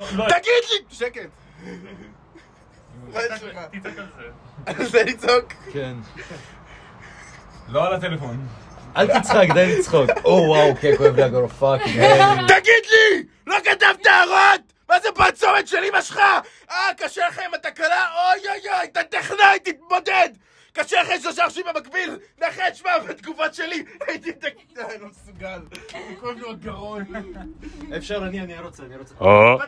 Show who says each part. Speaker 1: לא,
Speaker 2: תגיד לי! שקט.
Speaker 1: תצעק- תצעק על זה.
Speaker 2: אני מנסה לצעוק.
Speaker 3: כן.
Speaker 4: לא על הטלפון.
Speaker 3: אל תצחק, די לצחוק. או וואו, כן, כואב לי הגרון, פאק.
Speaker 2: תגיד לי! לא כתבת הערות? מה זה בצומת של אמא שלך? אה, קשה לך עם התקלה? אוי אוי אוי, אתה טכנאי, תתמודד! קשה לך עם שלושה אנשים במקביל? נחש מה בתגובות שלי? הייתי תגיד... אני לא מסוגל. כואב לי הגרון.
Speaker 3: אפשר, אני, אני רוצה, אני רוצה.